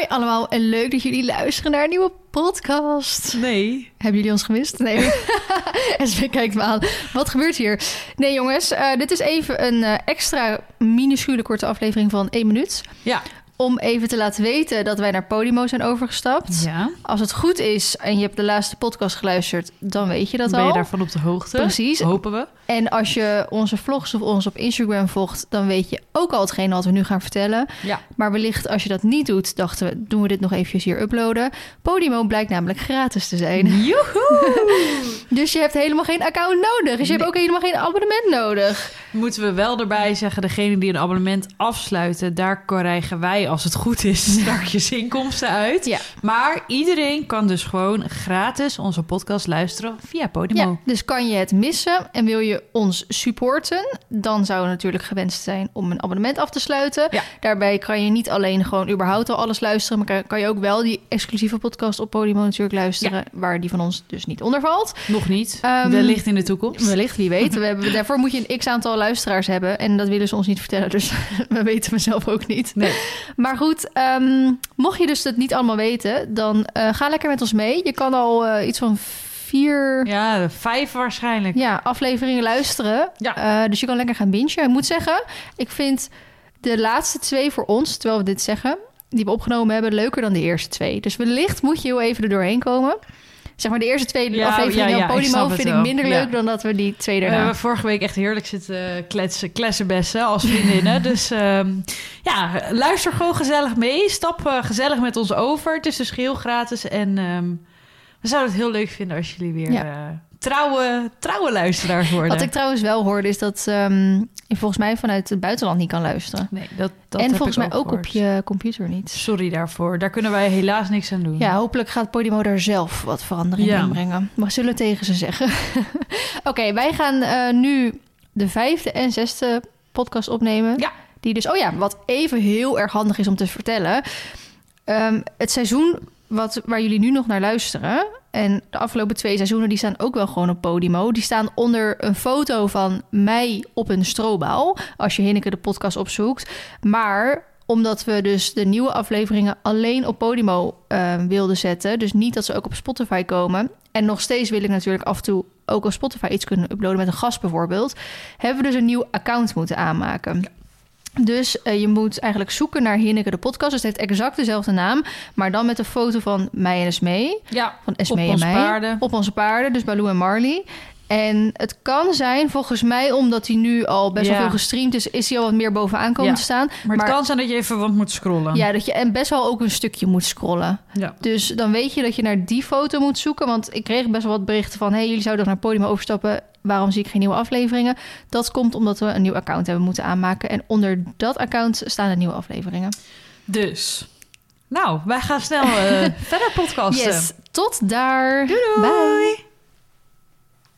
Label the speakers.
Speaker 1: allemaal en leuk dat jullie luisteren naar een nieuwe podcast.
Speaker 2: Nee.
Speaker 1: Hebben jullie ons gemist? Nee. SB kijkt me aan. Wat gebeurt hier? Nee jongens, eh, dit is even een eh, extra minuscule korte aflevering van 1 minuut.
Speaker 2: Ja.
Speaker 1: Om even te laten weten dat wij naar Podimo zijn overgestapt.
Speaker 2: Ja.
Speaker 1: Als het goed is en je hebt de laatste podcast geluisterd, dan weet je dat
Speaker 2: ben
Speaker 1: al.
Speaker 2: je daarvan op de hoogte?
Speaker 1: Precies.
Speaker 2: Hopen we.
Speaker 1: En als je onze vlogs of ons op Instagram volgt, dan weet je ook al hetgeen wat we nu gaan vertellen.
Speaker 2: Ja.
Speaker 1: Maar wellicht als je dat niet doet, dachten we, doen we dit nog eventjes hier uploaden. Podimo blijkt namelijk gratis te zijn.
Speaker 2: Joehoe!
Speaker 1: Dus je hebt helemaal geen account nodig. Dus je hebt
Speaker 2: Nee.
Speaker 1: ook helemaal geen abonnement nodig.
Speaker 2: Moeten we wel erbij zeggen, degene die een abonnement afsluiten, daar krijgen wij, als het goed is, straks inkomsten uit.
Speaker 1: Ja.
Speaker 2: Maar iedereen kan dus gewoon gratis onze podcast luisteren via Podimo.
Speaker 1: Ja, dus kan je het missen en wil je ons supporten, dan zou het natuurlijk gewenst zijn om een abonnement af te sluiten.
Speaker 2: Ja.
Speaker 1: Daarbij kan je niet alleen gewoon überhaupt al alles luisteren, maar kan, kan je ook wel die exclusieve podcast op Podimo natuurlijk luisteren, waar die van ons dus niet onder valt.
Speaker 2: Nog niet.
Speaker 1: Ehm,
Speaker 2: Wellicht in de toekomst.
Speaker 1: Wellicht, wie weet. We hebben, daarvoor moet je een x-aantal luisteraars hebben. En dat willen ze ons niet vertellen, dus we weten mezelf ook niet.
Speaker 2: Nee.
Speaker 1: Maar goed, ehm, mocht je dus dat niet allemaal weten... dan eh, ga lekker met ons mee. Je kan al eh, iets van vier
Speaker 2: Ja, vijf waarschijnlijk.
Speaker 1: ja, afleveringen luisteren.
Speaker 2: Ja.
Speaker 1: Eh, dus je kan lekker gaan bingen. Ik moet zeggen, ik vind de laatste twee voor ons... terwijl we dit zeggen, die we opgenomen hebben... leuker dan de eerste twee. Dus wellicht moet je heel even er doorheen komen... Zeg maar, de eerste twee
Speaker 2: Ja,
Speaker 1: afleveringen
Speaker 2: ja, ja,
Speaker 1: op
Speaker 2: ik snap
Speaker 1: Podimo
Speaker 2: het
Speaker 1: vind ik
Speaker 2: wel.
Speaker 1: minder
Speaker 2: Ja.
Speaker 1: leuk dan dat we die twee
Speaker 2: We
Speaker 1: daarna.
Speaker 2: hebben Eh, vorige week echt heerlijk zitten kletsen, klessenbessen als vriendinnen. dus ehm, ja, luister gewoon gezellig mee. Stap eh, gezellig met ons over. Het is dus heel gratis. En ehm, we zouden het heel leuk vinden als jullie weer
Speaker 1: Ja.
Speaker 2: eh, trouwe, trouwe luisteraars worden.
Speaker 1: Wat ik trouwens wel hoorde is dat ehm, je volgens mij vanuit het buitenland niet kan luisteren.
Speaker 2: Nee, dat, dat
Speaker 1: en
Speaker 2: heb
Speaker 1: volgens
Speaker 2: ik
Speaker 1: mij ook op
Speaker 2: gehoord.
Speaker 1: je computer niet.
Speaker 2: Sorry daarvoor. Daar kunnen wij helaas niks aan doen.
Speaker 1: Ja, hopelijk gaat Podimo daar zelf wat verandering
Speaker 2: Ja.
Speaker 1: in brengen. Maar zullen tegen ze zeggen. Oké, wij gaan eh, nu de vijfde en zesde podcast opnemen.
Speaker 2: Ja.
Speaker 1: Die dus, oh ja, wat even heel erg handig is om te vertellen. Ehm, het seizoen wat, waar jullie nu nog naar luisteren... en de afgelopen twee seizoenen, die staan ook wel gewoon op Podimo. Die staan onder een foto van mij op een strobaal... als je Hinneke de podcast opzoekt. Maar omdat we dus de nieuwe afleveringen alleen op Podimo ehm, wilden zetten... dus niet dat ze ook op Spotify komen... en nog steeds wil ik natuurlijk af en toe ook op Spotify iets kunnen uploaden... met een gast bijvoorbeeld... hebben we dus een nieuw account moeten aanmaken... Dus eh, je moet eigenlijk zoeken naar Hinneke de podcast. Dus het heeft exact dezelfde naam, maar dan met een foto van mij en Smee.
Speaker 2: Ja,
Speaker 1: Van Esmee
Speaker 2: op onze
Speaker 1: en mij.
Speaker 2: paarden.
Speaker 1: Op onze paarden, dus Baloo en Marley. En het kan zijn, volgens mij, omdat hij nu al best
Speaker 2: Ja.
Speaker 1: wel veel gestreamd is, is hij al wat meer bovenaan komen
Speaker 2: Ja.
Speaker 1: te staan.
Speaker 2: Maar het
Speaker 1: Maar-
Speaker 2: kan zijn dat je even wat moet scrollen.
Speaker 1: Ja, dat je en best wel ook een stukje moet scrollen.
Speaker 2: Ja.
Speaker 1: Dus dan weet je dat je naar die foto moet zoeken. Want ik kreeg best wel wat berichten van... hey, jullie zouden nog naar Podium overstappen. Waarom zie ik geen nieuwe afleveringen? Dat komt omdat we een nieuw account hebben moeten aanmaken. En onder dat account staan de nieuwe afleveringen.
Speaker 2: Dus, nou, wij gaan snel eh, verder podcasten.
Speaker 1: Yes, tot daar.
Speaker 2: Doei doei.
Speaker 1: Bye.